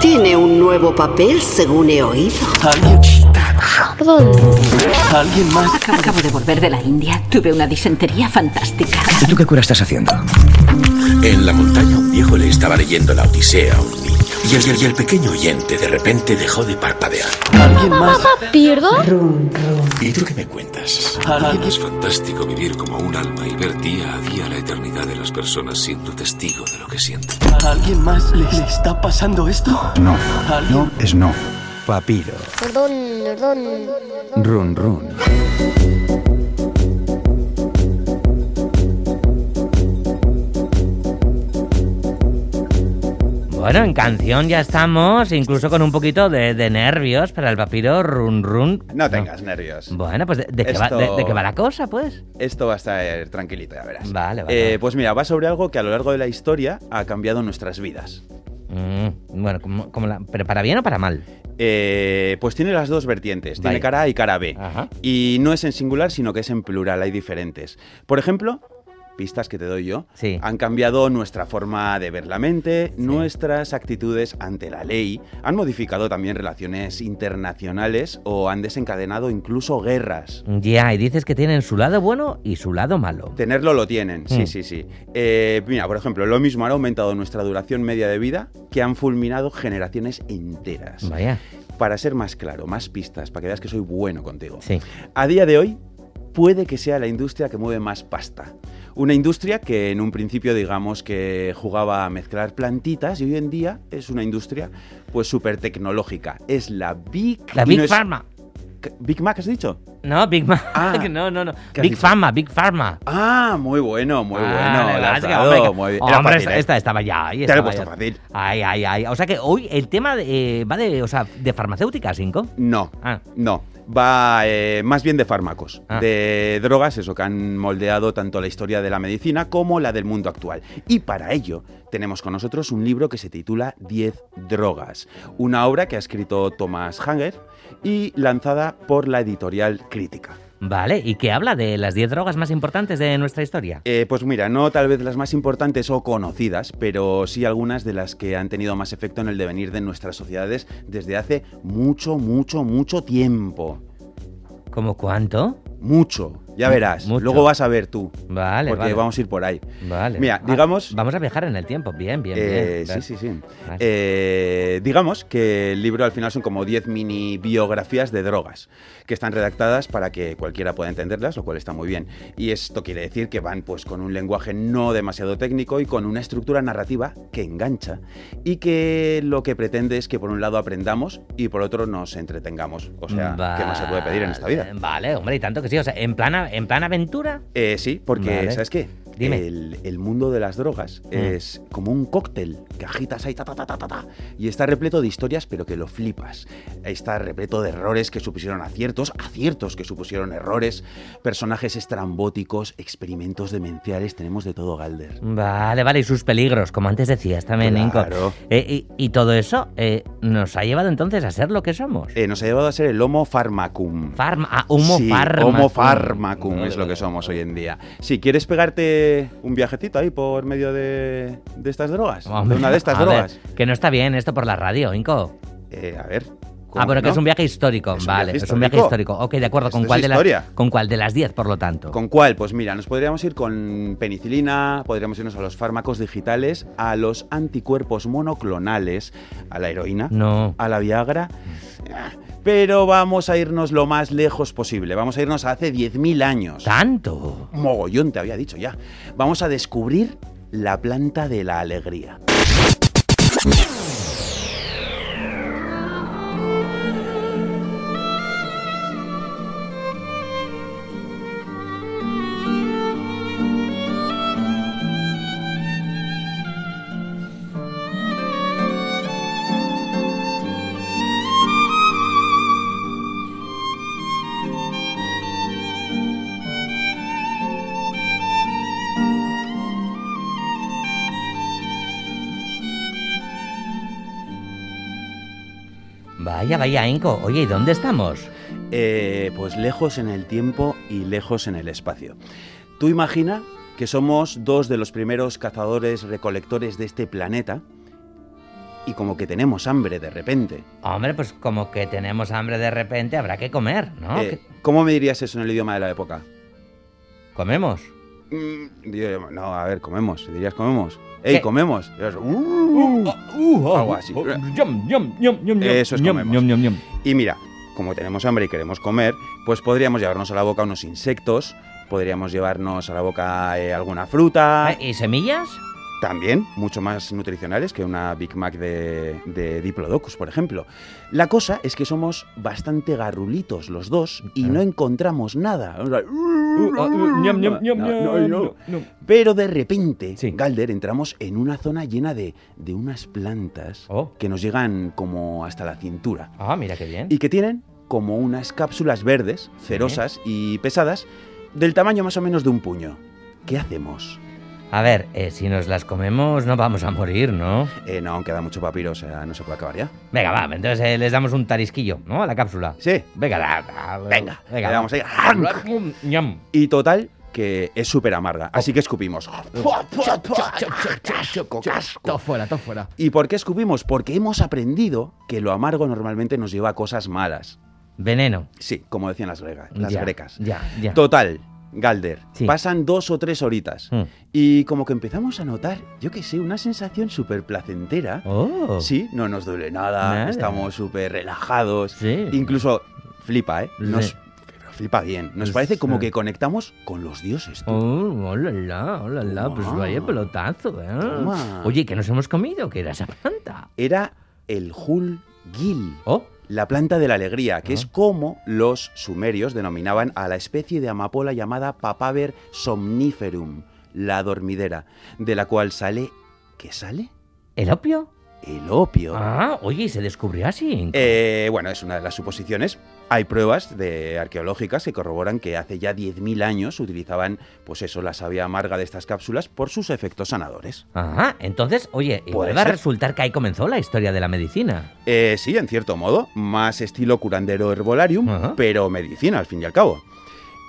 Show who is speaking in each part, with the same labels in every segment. Speaker 1: Tiene un nuevo papel, según he oído.
Speaker 2: Alguien.
Speaker 3: Perdón.
Speaker 2: Alguien más.
Speaker 4: Acabo, acabo de volver de la India. Tuve una disentería fantástica.
Speaker 5: ¿Y tú qué cura estás haciendo?
Speaker 6: En la montaña un viejo le estaba leyendo la Odisea a un niño. Y el, y el- y el pequeño oyente de repente dejó de parpadear.
Speaker 2: Alguien más.
Speaker 3: ¿Papá pierdo?
Speaker 6: ¿Y tú qué me cuentas?
Speaker 7: Es fantástico vivir como un alma y ver día a día la eternidad de las personas siendo testigo de lo que sienten.
Speaker 2: ¿Alguien más le, le está pasando esto?
Speaker 8: No.
Speaker 2: ¿Alguien?
Speaker 8: No es no. Papiro.
Speaker 3: Perdón,
Speaker 8: Run,
Speaker 3: perdón.
Speaker 8: run.
Speaker 9: Bueno, en canción ya estamos, incluso con un poquito de, de nervios para el papiro run run.
Speaker 10: No tengas nervios.
Speaker 9: Bueno, pues de, de qué va,
Speaker 10: Esto-
Speaker 9: de- de qué va la cosa, pues.
Speaker 10: Esto va a estar tranquilito, ya verás.
Speaker 9: Vale, vale.
Speaker 10: Eh, pues mira, va sobre algo que a lo largo de la historia ha cambiado nuestras vidas.
Speaker 9: Mm, bueno, como, como la- pero para bien o para mal.
Speaker 10: Eh, pues tiene las dos vertientes, tiene
Speaker 9: Vaya.
Speaker 10: cara A y cara B.
Speaker 9: Ajá.
Speaker 10: Y no es en singular, sino que es en plural, hay diferentes. Por ejemplo, pistas que te doy yo,
Speaker 9: Sí.
Speaker 10: han cambiado nuestra forma de ver la mente, nuestras actitudes ante la ley, han modificado también relaciones internacionales o han desencadenado incluso guerras.
Speaker 9: Ya, y dices que tienen su lado bueno y su lado malo.
Speaker 10: Tenerlo lo tienen, sí,
Speaker 9: Mm.
Speaker 10: sí, sí. Eh, mira, por ejemplo, lo mismo han aumentado nuestra duración media de vida que han fulminado generaciones enteras.
Speaker 9: Vaya,
Speaker 10: Para ser más claro, más pistas, para que veas que soy bueno contigo.
Speaker 9: sí.
Speaker 10: A día de hoy, puede que sea la industria que mueve más pasta. Una industria que en un principio digamos que jugaba a mezclar plantitas y hoy en día es una industria pues súper tecnológica. Es la Big...
Speaker 9: La
Speaker 10: y
Speaker 9: Big
Speaker 10: no es-
Speaker 9: Pharma.
Speaker 10: ¿Big Mac has dicho?
Speaker 9: No, Big Mac.
Speaker 10: Ah,
Speaker 9: no, no, no.
Speaker 10: ¿qué has
Speaker 9: Big
Speaker 10: dicho?
Speaker 9: Pharma, Big Pharma. Ah,
Speaker 10: Ah, muy bueno, muy bueno.
Speaker 9: Vale,
Speaker 10: la has
Speaker 9: vale,
Speaker 10: dado,
Speaker 9: hombre,
Speaker 10: muy bien. Era
Speaker 9: Hombre,
Speaker 10: fácil,
Speaker 9: esta,
Speaker 10: ¿eh?
Speaker 9: esta estaba ya. ahí
Speaker 10: Te la he
Speaker 9: estaba
Speaker 10: puesto
Speaker 9: ya.
Speaker 10: fácil.
Speaker 9: Ay, ay, ay. O sea que hoy el tema de- eh, va de, o sea, de farmacéuticas, Inco.
Speaker 10: No,
Speaker 9: Ah.
Speaker 10: no. Va eh, más bien de fármacos,
Speaker 9: Ah.
Speaker 10: de drogas, eso que han moldeado tanto la historia de la medicina como la del mundo actual. Y para ello tenemos con nosotros un libro que se titula 10 drogas, una obra que ha escrito Thomas Hanger y lanzada por la editorial Crítica.
Speaker 9: Vale, y que habla de las 10 drogas más importantes de nuestra historia.
Speaker 10: Eh, pues mira, no tal vez las más importantes o conocidas, pero sí algunas de las que han tenido más efecto en el devenir de nuestras sociedades desde hace mucho, mucho, mucho tiempo.
Speaker 9: ¿Cómo cuánto?
Speaker 10: Mucho, ya verás.
Speaker 9: Mucho.
Speaker 10: Luego vas a ver tú.
Speaker 9: Vale,
Speaker 10: porque
Speaker 9: vale.
Speaker 10: vamos a ir por ahí.
Speaker 9: Vale.
Speaker 10: Mira,
Speaker 9: Ah,
Speaker 10: digamos-
Speaker 9: vamos a viajar en el tiempo. Bien, bien,
Speaker 10: Eh,
Speaker 9: bien.
Speaker 10: sí, sí, sí.
Speaker 9: Vale.
Speaker 10: Eh, digamos que el libro al final son como 10 mini biografías de drogas que están redactadas para que cualquiera pueda entenderlas, lo cual está muy bien. Y esto quiere decir que van pues con un lenguaje no demasiado técnico y con una estructura narrativa que engancha y que lo que pretende es que por un lado aprendamos y por otro nos entretengamos. O sea, ¿qué más se puede pedir en esta vida?
Speaker 9: Vale, Vale, hombre, y tanto que sí. O sea, en plan, a- en plan aventura.
Speaker 10: Eh, sí, porque
Speaker 9: Vale.
Speaker 10: ¿sabes qué?
Speaker 9: Dime. Mm.
Speaker 10: El, el mundo de las drogas es como un cóctel que agitas ahí, ta, ta, ta, ta, ta, ta, y está repleto de historias, pero que lo flipas. Está repleto de errores que supusieron aciertos, aciertos que supusieron errores, personajes estrambóticos, experimentos demenciales, tenemos de todo, Galder.
Speaker 9: Vale, vale, y sus peligros, como antes decías también,
Speaker 10: Claro.
Speaker 9: Inco. Eh, y, y todo eso eh, nos ha llevado entonces a ser lo que somos.
Speaker 10: Eh, nos ha llevado a ser el Homo Pharmacum.
Speaker 9: Farma, ah, homo
Speaker 10: Sí,
Speaker 9: pharmacum.
Speaker 10: Homo Pharmacum
Speaker 9: Vale,
Speaker 10: es lo
Speaker 9: vale.
Speaker 10: que somos hoy en día. Si quieres pegarte un viajecito ahí por medio de, de estas drogas, de
Speaker 9: Hombre,
Speaker 10: una de estas
Speaker 9: a ver,
Speaker 10: drogas.
Speaker 9: que no está bien esto por la radio, Inco.
Speaker 10: Eh, a ver.
Speaker 9: Ah,
Speaker 10: ¿cómo
Speaker 9: bueno, que
Speaker 10: no?
Speaker 9: es un viaje histórico.
Speaker 10: Es un
Speaker 9: vale,
Speaker 10: viaje
Speaker 9: es un viaje
Speaker 10: histórico.
Speaker 9: histórico. Ok, de acuerdo,
Speaker 10: Esto
Speaker 9: ¿con
Speaker 10: es
Speaker 9: cuál, de
Speaker 10: historia.
Speaker 9: las, ¿con cuál de las 10, por lo tanto?
Speaker 10: ¿Con cuál? Pues mira, nos podríamos ir con penicilina, podríamos irnos a los fármacos digitales, a los anticuerpos monoclonales, a la heroína,
Speaker 9: No.
Speaker 10: a la Viagra. Pero vamos a irnos lo más lejos posible. Vamos a irnos a hace 10.000 años.
Speaker 9: ¿Tanto?
Speaker 10: Mogollón, te había dicho ya. Vamos a descubrir la planta de la alegría.
Speaker 9: Vaya, vaya, Inco. Oye, ¿y dónde estamos?
Speaker 10: Eh, pues lejos en el tiempo y lejos en el espacio. Tú imagina que somos dos de los primeros cazadores recolectores de este planeta y como que tenemos hambre de repente.
Speaker 9: Hombre, pues como que tenemos hambre de repente, habrá que comer, ¿no?
Speaker 10: Eh,
Speaker 9: ¿Qué-
Speaker 10: ¿Cómo me dirías eso en el idioma de la época?
Speaker 9: ¿Comemos?
Speaker 10: Mm, yo- no, a ver, comemos. Dirías comemos. ¡Ey,
Speaker 9: ¿Qué? oh.
Speaker 10: comemos! Y yo, "Uh". Algo así.
Speaker 9: uh, Yum, yum, yum, yum,
Speaker 10: Eso es
Speaker 9: yum,
Speaker 10: comemos.
Speaker 9: yum, yum, yum.
Speaker 10: Y mira, como tenemos hambre y queremos comer, pues podríamos llevarnos a la boca unos insectos, podríamos llevarnos a la boca eh, alguna fruta,
Speaker 9: Eh, ¿Y semillas?
Speaker 10: también mucho más nutricionales que una Big Mac de, de Diplodocus, por ejemplo. La cosa es que somos bastante garrulitos los dos y no encontramos nada.
Speaker 9: Uh, ah,
Speaker 10: No, no, no. Pero de repente,
Speaker 9: Sí.
Speaker 10: Galder, entramos en una zona llena de, de unas plantas
Speaker 9: Oh.
Speaker 10: que nos llegan como hasta la cintura
Speaker 9: Ah, mira qué bien.
Speaker 10: y que tienen como unas cápsulas verdes, cerosas y pesadas, del tamaño más o menos de un puño. ¿Qué hacemos?
Speaker 9: A ver, eh, si nos las comemos no vamos a morir, ¿no?
Speaker 10: Eh, no, aún queda mucho papiro, o sea, no se puede acabar ya.
Speaker 9: Venga, va, entonces eh, les damos un tarisquillo, ¿no? A la cápsula.
Speaker 10: Sí.
Speaker 9: Venga, da- da-
Speaker 10: Venga,
Speaker 9: venga.
Speaker 10: le damos ahí. ¡arranc!
Speaker 9: Yum, yum.
Speaker 10: Y total, que es súper amarga, así que escupimos.
Speaker 5: Todo fuera, todo fuera.
Speaker 10: ¿Y por qué escupimos? Porque hemos aprendido que lo amargo normalmente nos lleva a cosas malas.
Speaker 9: Veneno.
Speaker 10: Sí, como decían las, grega- las
Speaker 9: Ya,
Speaker 10: grecas.
Speaker 9: Ya, ya.
Speaker 10: Total, Galder,
Speaker 9: Sí.
Speaker 10: pasan dos o tres horitas
Speaker 9: Mm.
Speaker 10: y como que empezamos a notar, yo qué sé, una sensación súper placentera.
Speaker 9: Oh.
Speaker 10: Sí, no nos duele nada,
Speaker 9: Nada.
Speaker 10: estamos súper relajados.
Speaker 9: Sí.
Speaker 10: Incluso flipa, ¿eh? Nos,
Speaker 9: Sí.
Speaker 10: pero flipa bien. Nos
Speaker 9: Sí.
Speaker 10: parece como que conectamos con los dioses. tú.
Speaker 9: Oh, hola, hola, hola, hola, pues
Speaker 10: Toma.
Speaker 9: vaya pelotazo, ¿eh?
Speaker 10: Toma.
Speaker 9: Oye, ¿qué nos hemos comido? ¿Qué era esa planta?
Speaker 10: Era el Hulgil.
Speaker 9: Oh,
Speaker 10: La planta de la alegría, que es
Speaker 9: Ah.
Speaker 10: como los sumerios denominaban a la especie de amapola llamada Papaver somniferum, la dormidera, de la cual sale. ¿Qué sale?
Speaker 9: ¿el opio?
Speaker 10: El opio.
Speaker 9: Ah, oye, y se descubrió así.
Speaker 10: Eh, bueno, es una de las suposiciones. Hay pruebas de arqueológicas que corroboran que hace ya 10.000 años utilizaban, pues eso, la savia amarga de estas cápsulas por sus efectos sanadores.
Speaker 9: Ajá, entonces, oye,
Speaker 10: Puede
Speaker 9: igual va a
Speaker 10: ser.
Speaker 9: resultar que ahí comenzó la historia de la medicina.
Speaker 10: Eh, sí, en cierto modo, más estilo curandero herbolarium,
Speaker 9: Ajá.
Speaker 10: pero medicina al fin y al cabo.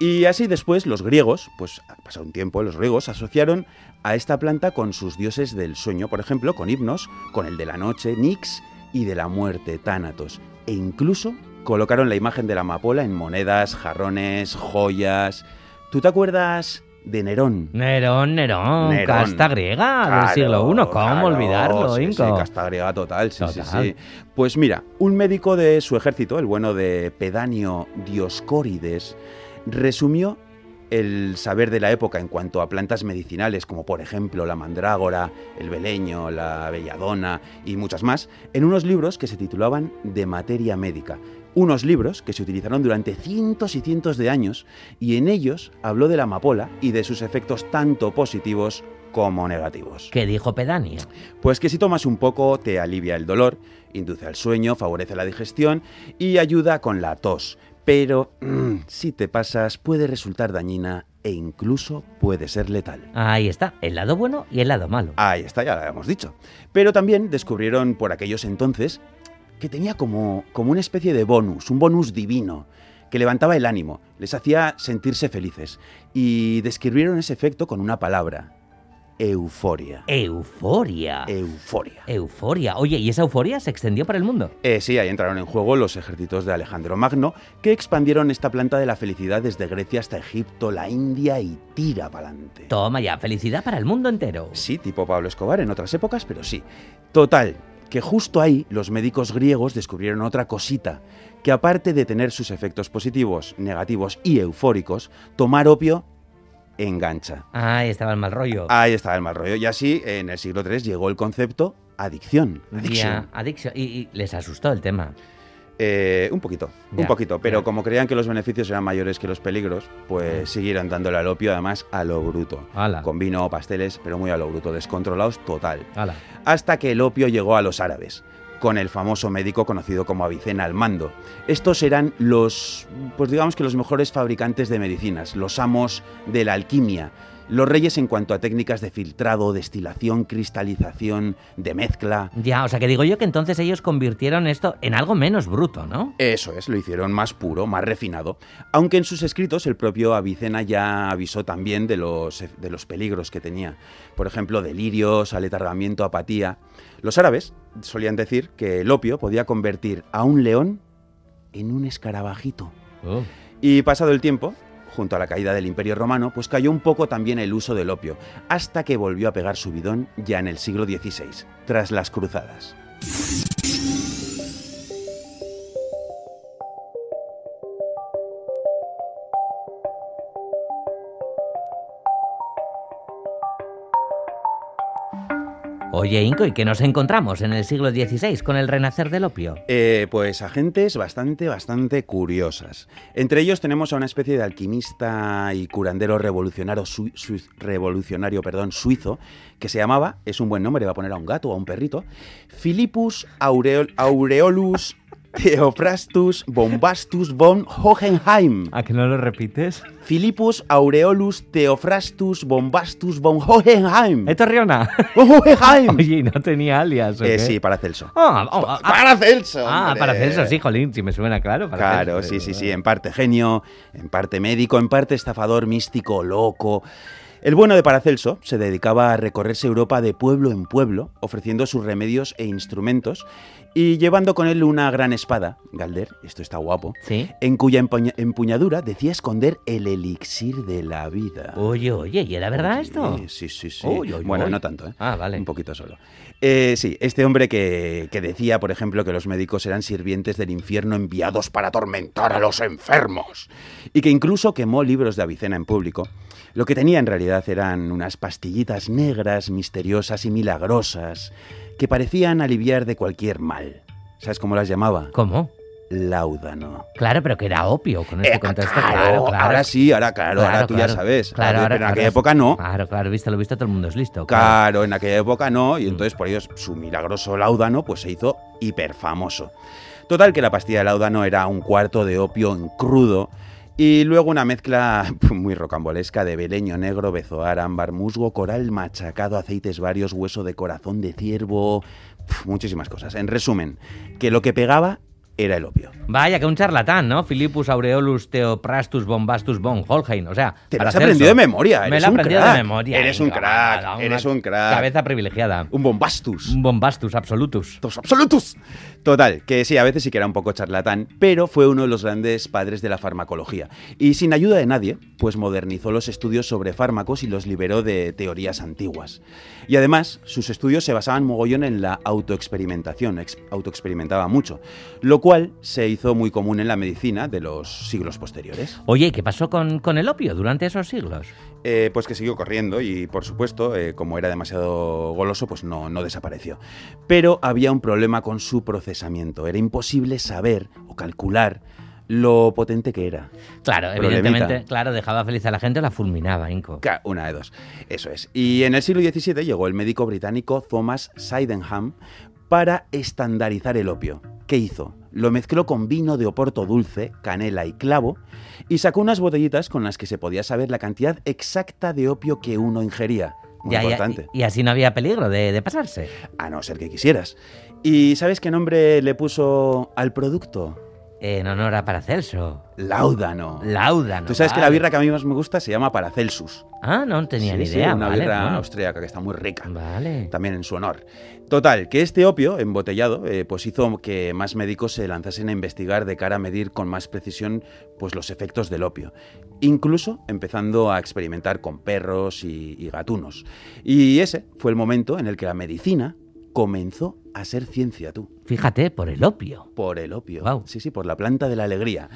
Speaker 10: Y así después los griegos, pues ha pasado un tiempo, los griegos asociaron a esta planta con sus dioses del sueño, por ejemplo, con himnos, con el de la noche, Nix, y de la muerte, Tánatos, e incluso colocaron la imagen de la amapola en monedas, jarrones, joyas. ¿Tú te acuerdas de Nerón?
Speaker 9: Nerón, Nerón,
Speaker 10: Nerón.
Speaker 9: casta griega
Speaker 10: Claro,
Speaker 9: del siglo I, ¿cómo
Speaker 10: claro,
Speaker 9: olvidarlo,
Speaker 10: sí,
Speaker 9: Inco?
Speaker 10: Sí, casta griega total, sí,
Speaker 9: Total.
Speaker 10: sí, sí. Pues mira, un médico de su ejército, el bueno de Pedanio Dioscórides, resumió el saber de la época en cuanto a plantas medicinales, como por ejemplo la mandrágora, el beleño, la belladona y muchas más, en unos libros que se titulaban De materia médica. Unos libros que se utilizaron durante cientos y cientos de años y en ellos habló de la amapola y de sus efectos tanto positivos como negativos.
Speaker 9: ¿Qué dijo Pedanio?
Speaker 10: Pues que si tomas un poco te alivia el dolor, induce al sueño, favorece la digestión y ayuda con la tos. Pero mm, si te pasas puede resultar dañina e incluso puede ser letal.
Speaker 9: Ahí está, el lado bueno y el lado malo.
Speaker 10: Ahí está, ya lo habíamos dicho. Pero también descubrieron por aquellos entonces que tenía como, como una especie de bonus, un bonus divino, que levantaba el ánimo, les hacía sentirse felices. Y describieron ese efecto con una palabra, euforia.
Speaker 9: Euforia.
Speaker 10: Eh. Euforia.
Speaker 9: Euforia. Oye, ¿y esa euforia se extendió para el mundo?
Speaker 10: Eh, sí, ahí entraron en juego los ejércitos de Alejandro Magno, que expandieron esta planta de la felicidad desde Grecia hasta Egipto, la India y tira pa'lante.
Speaker 9: Toma ya, felicidad para el mundo entero.
Speaker 10: Sí, tipo Pablo Escobar en otras épocas, pero sí. Total, que justo ahí los médicos griegos descubrieron otra cosita, que aparte de tener sus efectos positivos, negativos y eufóricos, tomar opio engancha.
Speaker 9: Ahí Ah, estaba el mal rollo.
Speaker 10: Ahí está el mal rollo. Y así, en el siglo III llegó el concepto adicción. Addiction.
Speaker 9: Ya, adicción. Y, y les asustó el tema.
Speaker 10: Eh, un poquito, un
Speaker 9: Ya,
Speaker 10: poquito. Pero
Speaker 9: ya.
Speaker 10: como creían que los beneficios eran mayores que los peligros, pues siguieron dándole al opio, además a lo bruto.
Speaker 9: Ala.
Speaker 10: Con vino, pasteles, pero muy a lo bruto, descontrolados total.
Speaker 9: Ala.
Speaker 10: Hasta que el opio llegó a los árabes, con el famoso médico conocido como Avicena al mando. Estos eran los, pues digamos que los mejores fabricantes de medicinas, los amos de la alquimia. Los reyes en cuanto a técnicas de filtrado, destilación, cristalización, de mezcla.
Speaker 9: Ya, o sea que digo yo que entonces ellos convirtieron esto en algo menos bruto, ¿no?
Speaker 10: Eso es, lo hicieron más puro, más refinado. Aunque en sus escritos el propio Avicena ya avisó también de los, de los peligros que tenía. Por ejemplo, delirios, aletargamiento, apatía. Los árabes solían decir que el opio podía convertir a un león en un escarabajito.
Speaker 5: Oh.
Speaker 10: Y pasado el tiempo, junto a la caída del Imperio Romano, pues cayó un poco también el uso del opio, hasta que volvió a pegar su bidón ya en el siglo XVI, tras las cruzadas.
Speaker 9: Oye, Inco, ¿y qué nos encontramos en el siglo XVI con el renacer del opio?
Speaker 10: Eh, pues agentes bastante, bastante curiosas. Entre ellos tenemos a una especie de alquimista y curandero revolucionario, sui- sui- revolucionario perdón, suizo que se llamaba, es un buen nombre, va a poner a un gato o a un perrito, Philippus Aureol- Aureolus Theophrastus Bombastus von Hohenheim.
Speaker 9: ¿A que no lo repites?
Speaker 10: Philippus Aureolus Theophrastus Bombastus von Hohenheim.
Speaker 9: ¿Esto es Riona?
Speaker 10: Hohenheim.
Speaker 9: ¿Eh, Oye, ¿y no tenía alias? o
Speaker 10: Eh,
Speaker 9: qué?
Speaker 10: sí, para Celso.
Speaker 9: Ah, ah, ah, ah.
Speaker 10: Para Celso.
Speaker 9: Ah,
Speaker 10: hombre.
Speaker 9: para Celso, sí, jolín, si me suena claro. para
Speaker 10: Claro,
Speaker 9: Celso,
Speaker 10: sí,
Speaker 9: de
Speaker 10: sí, sí,
Speaker 9: verdad.
Speaker 10: en parte genio, en parte médico, en parte estafador, místico, loco. El bueno de Paracelso se dedicaba a recorrerse Europa de pueblo en pueblo, ofreciendo sus remedios e instrumentos y llevando con él una gran espada, Galder, esto está guapo,
Speaker 9: Sí.
Speaker 10: en cuya empuña- empuñadura decía esconder el elixir de la vida.
Speaker 9: Oye, oye, ¿y era verdad
Speaker 10: Oye,
Speaker 9: esto?
Speaker 10: Sí, sí, sí.
Speaker 9: Uy, uy,
Speaker 10: bueno,
Speaker 9: uy.
Speaker 10: no tanto, ¿eh?
Speaker 9: Ah, vale.
Speaker 10: Un poquito solo. Eh, sí, este hombre que, que decía, por ejemplo, que los médicos eran sirvientes del infierno enviados para atormentar a los enfermos. Y que incluso quemó libros de Avicena en público. Lo que tenía en realidad eran unas pastillitas negras, misteriosas y milagrosas, que parecían aliviar de cualquier mal. ¿Sabes cómo las llamaba?
Speaker 9: ¿Cómo?
Speaker 10: Láudano.
Speaker 9: Claro, pero que era opio con
Speaker 10: Eh,
Speaker 9: este contexto.
Speaker 10: claro,
Speaker 9: Claro, claro.
Speaker 10: ahora sí, ahora claro, ahora tú
Speaker 9: claro.
Speaker 10: ya sabes.
Speaker 9: Claro, ahora-
Speaker 10: pero en
Speaker 9: ahora
Speaker 10: aquella
Speaker 9: sí.
Speaker 10: época no.
Speaker 9: Claro, claro, visto lo visto, todo el mundo es listo. claro.
Speaker 10: Claro, en aquella época no, y entonces por ellos su milagroso laudano pues se hizo hiperfamoso. Total que la pastilla de laudano era un cuarto de opio en crudo y luego una mezcla muy rocambolesca de beleño negro, bezoar, ámbar, musgo, coral machacado, aceites varios, hueso de corazón de ciervo, pf, muchísimas cosas. En resumen, que lo que pegaba era el opio.
Speaker 9: Vaya, que un charlatán, ¿no? Philippus Aureolus Theophrastus Bombastus von Holheim. O sea,
Speaker 10: Te lo
Speaker 9: para
Speaker 10: has aprendido
Speaker 9: Celso.
Speaker 10: de memoria,
Speaker 9: Me
Speaker 10: eres
Speaker 9: lo he
Speaker 10: un
Speaker 9: aprendido
Speaker 10: crack,
Speaker 9: de memoria.
Speaker 10: eres un
Speaker 9: venga,
Speaker 10: crack,
Speaker 9: va, va,
Speaker 10: eres
Speaker 9: una
Speaker 10: un crack.
Speaker 9: Cabeza privilegiada.
Speaker 10: Un bombastus.
Speaker 9: Un bombastus absolutus.
Speaker 10: ¡Tos absolutos. Total, que sí, a veces sí que era un poco charlatán, pero fue uno de los grandes padres de la farmacología. Y sin ayuda de nadie, pues modernizó los estudios sobre fármacos y los liberó de teorías antiguas. Y además, sus estudios se basaban mogollón en la autoexperimentación, ex- autoexperimentaba mucho, lo cual se hizo muy común en la medicina de los siglos posteriores.
Speaker 9: Oye, ¿y ¿qué pasó con, con el opio durante esos siglos?
Speaker 10: Eh, pues que siguió corriendo y, por supuesto, eh, como era demasiado goloso, pues no, no desapareció. Pero había un problema con su procesamiento. Era imposible saber o calcular lo potente que era.
Speaker 9: Claro,
Speaker 10: Problemita.
Speaker 9: evidentemente, claro, dejaba feliz a la gente o la fulminaba, Inco.
Speaker 10: Ca- Una de dos. Eso es. Y en el siglo XVII llegó el médico británico Thomas Sydenham para estandarizar el opio. ¿Qué hizo? Lo mezcló con vino de oporto dulce, canela y clavo y sacó unas botellitas con las que se podía saber la cantidad exacta de opio que uno ingería. Muy
Speaker 9: Ya, ya,
Speaker 10: importante.
Speaker 9: y, y así no había peligro de, de pasarse.
Speaker 10: A no ser que quisieras. ¿Y sabes qué nombre le puso al producto?
Speaker 9: En honor a Paracelso.
Speaker 10: Láudano.
Speaker 9: Lauda, ¿no?
Speaker 10: Tú sabes que la
Speaker 9: Vale.
Speaker 10: birra que a mí más me gusta se llama Paracelsus.
Speaker 9: Ah, no tenía
Speaker 10: Sí,
Speaker 9: ni
Speaker 10: sí,
Speaker 9: idea.
Speaker 10: una
Speaker 9: vale,
Speaker 10: birra
Speaker 9: bueno.
Speaker 10: austríaca que está muy rica.
Speaker 9: Vale.
Speaker 10: También en su honor. Total, que este opio embotellado eh, pues hizo que más médicos se lanzasen a investigar de cara a medir con más precisión pues los efectos del opio. Incluso empezando a experimentar con perros y, y gatunos. Y ese fue el momento en el que la medicina comenzó a ser ciencia tú.
Speaker 9: Fíjate, por el opio.
Speaker 10: Por el opio.
Speaker 9: Guau.
Speaker 10: Sí, sí, por la planta de la alegría.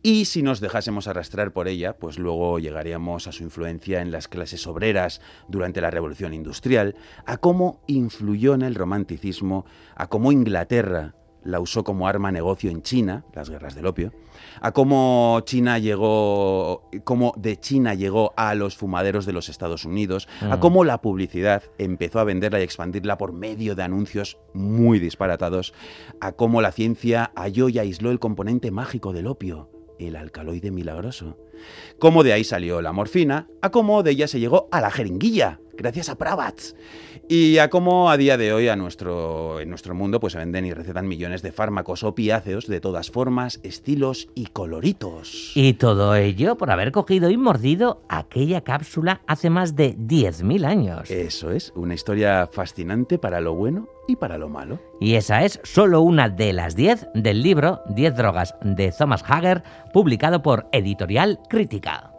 Speaker 10: Y si nos dejásemos arrastrar por ella, pues luego llegaríamos a su influencia en las clases obreras durante la Revolución Industrial, a cómo influyó en el romanticismo, a cómo Inglaterra la usó como arma negocio en China, las guerras del opio, a cómo China llegó, cómo de China llegó a los fumaderos de los Estados Unidos, a
Speaker 9: Mm.
Speaker 10: cómo la publicidad empezó a venderla y expandirla por medio de anuncios muy disparatados, a cómo la ciencia halló y aisló el componente mágico del opio, el alcaloide milagroso, Cómo de ahí salió la morfina, a cómo de ella se llegó a la jeringuilla, gracias a Pravats. Y a cómo a día de hoy a nuestro, en nuestro mundo pues se venden y recetan millones de fármacos opiáceos de todas formas, estilos y coloritos.
Speaker 9: Y todo ello por haber cogido y mordido aquella cápsula hace más de 10.000 años.
Speaker 10: Eso es, una historia fascinante para lo bueno y para lo malo.
Speaker 9: Y esa es solo una de las 10 del libro 10 drogas de Thomas Hager, publicado por Editorial Crítica.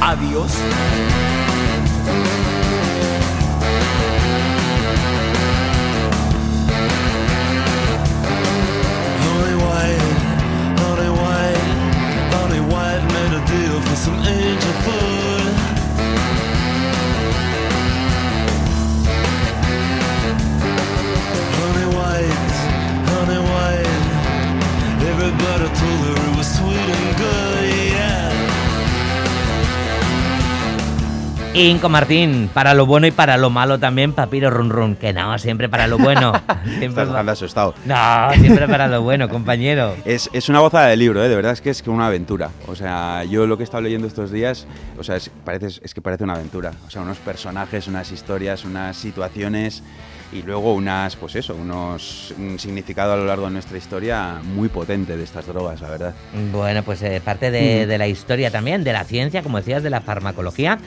Speaker 2: Adiós. Lonely White, Lonely White, Lonely White made a deal for some angel food. Lonely White, Lonely White, everybody told her it was sweet and good, yeah.
Speaker 9: Inco Martín, para lo bueno y para lo malo también, Papiro Run Run, que no, siempre para lo bueno. Siempre
Speaker 10: Estás
Speaker 9: pa-
Speaker 10: bastante asustado.
Speaker 9: no, siempre para lo bueno, compañero.
Speaker 10: Es, es una gozada de libro, ¿eh? de verdad es que es que una aventura. O sea, yo lo que he estado leyendo estos días, o sea, es, parece, es que parece una aventura. O sea, unos personajes, unas historias, unas situaciones y luego unas, pues eso, unos, un significado a lo largo de nuestra historia muy potente de estas drogas, la verdad.
Speaker 9: Bueno, pues eh, parte de, de la historia también, de la ciencia, como decías, de la farmacología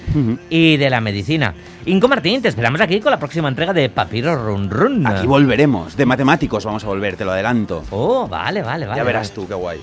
Speaker 9: y de la medicina. Inco Martín, te esperamos aquí con la próxima entrega de Papiro Run Run.
Speaker 10: Aquí volveremos, de matemáticos vamos a volver, te lo adelanto.
Speaker 9: Oh, vale, vale, vale.
Speaker 10: ya verás
Speaker 9: vale.
Speaker 10: tú, qué guay.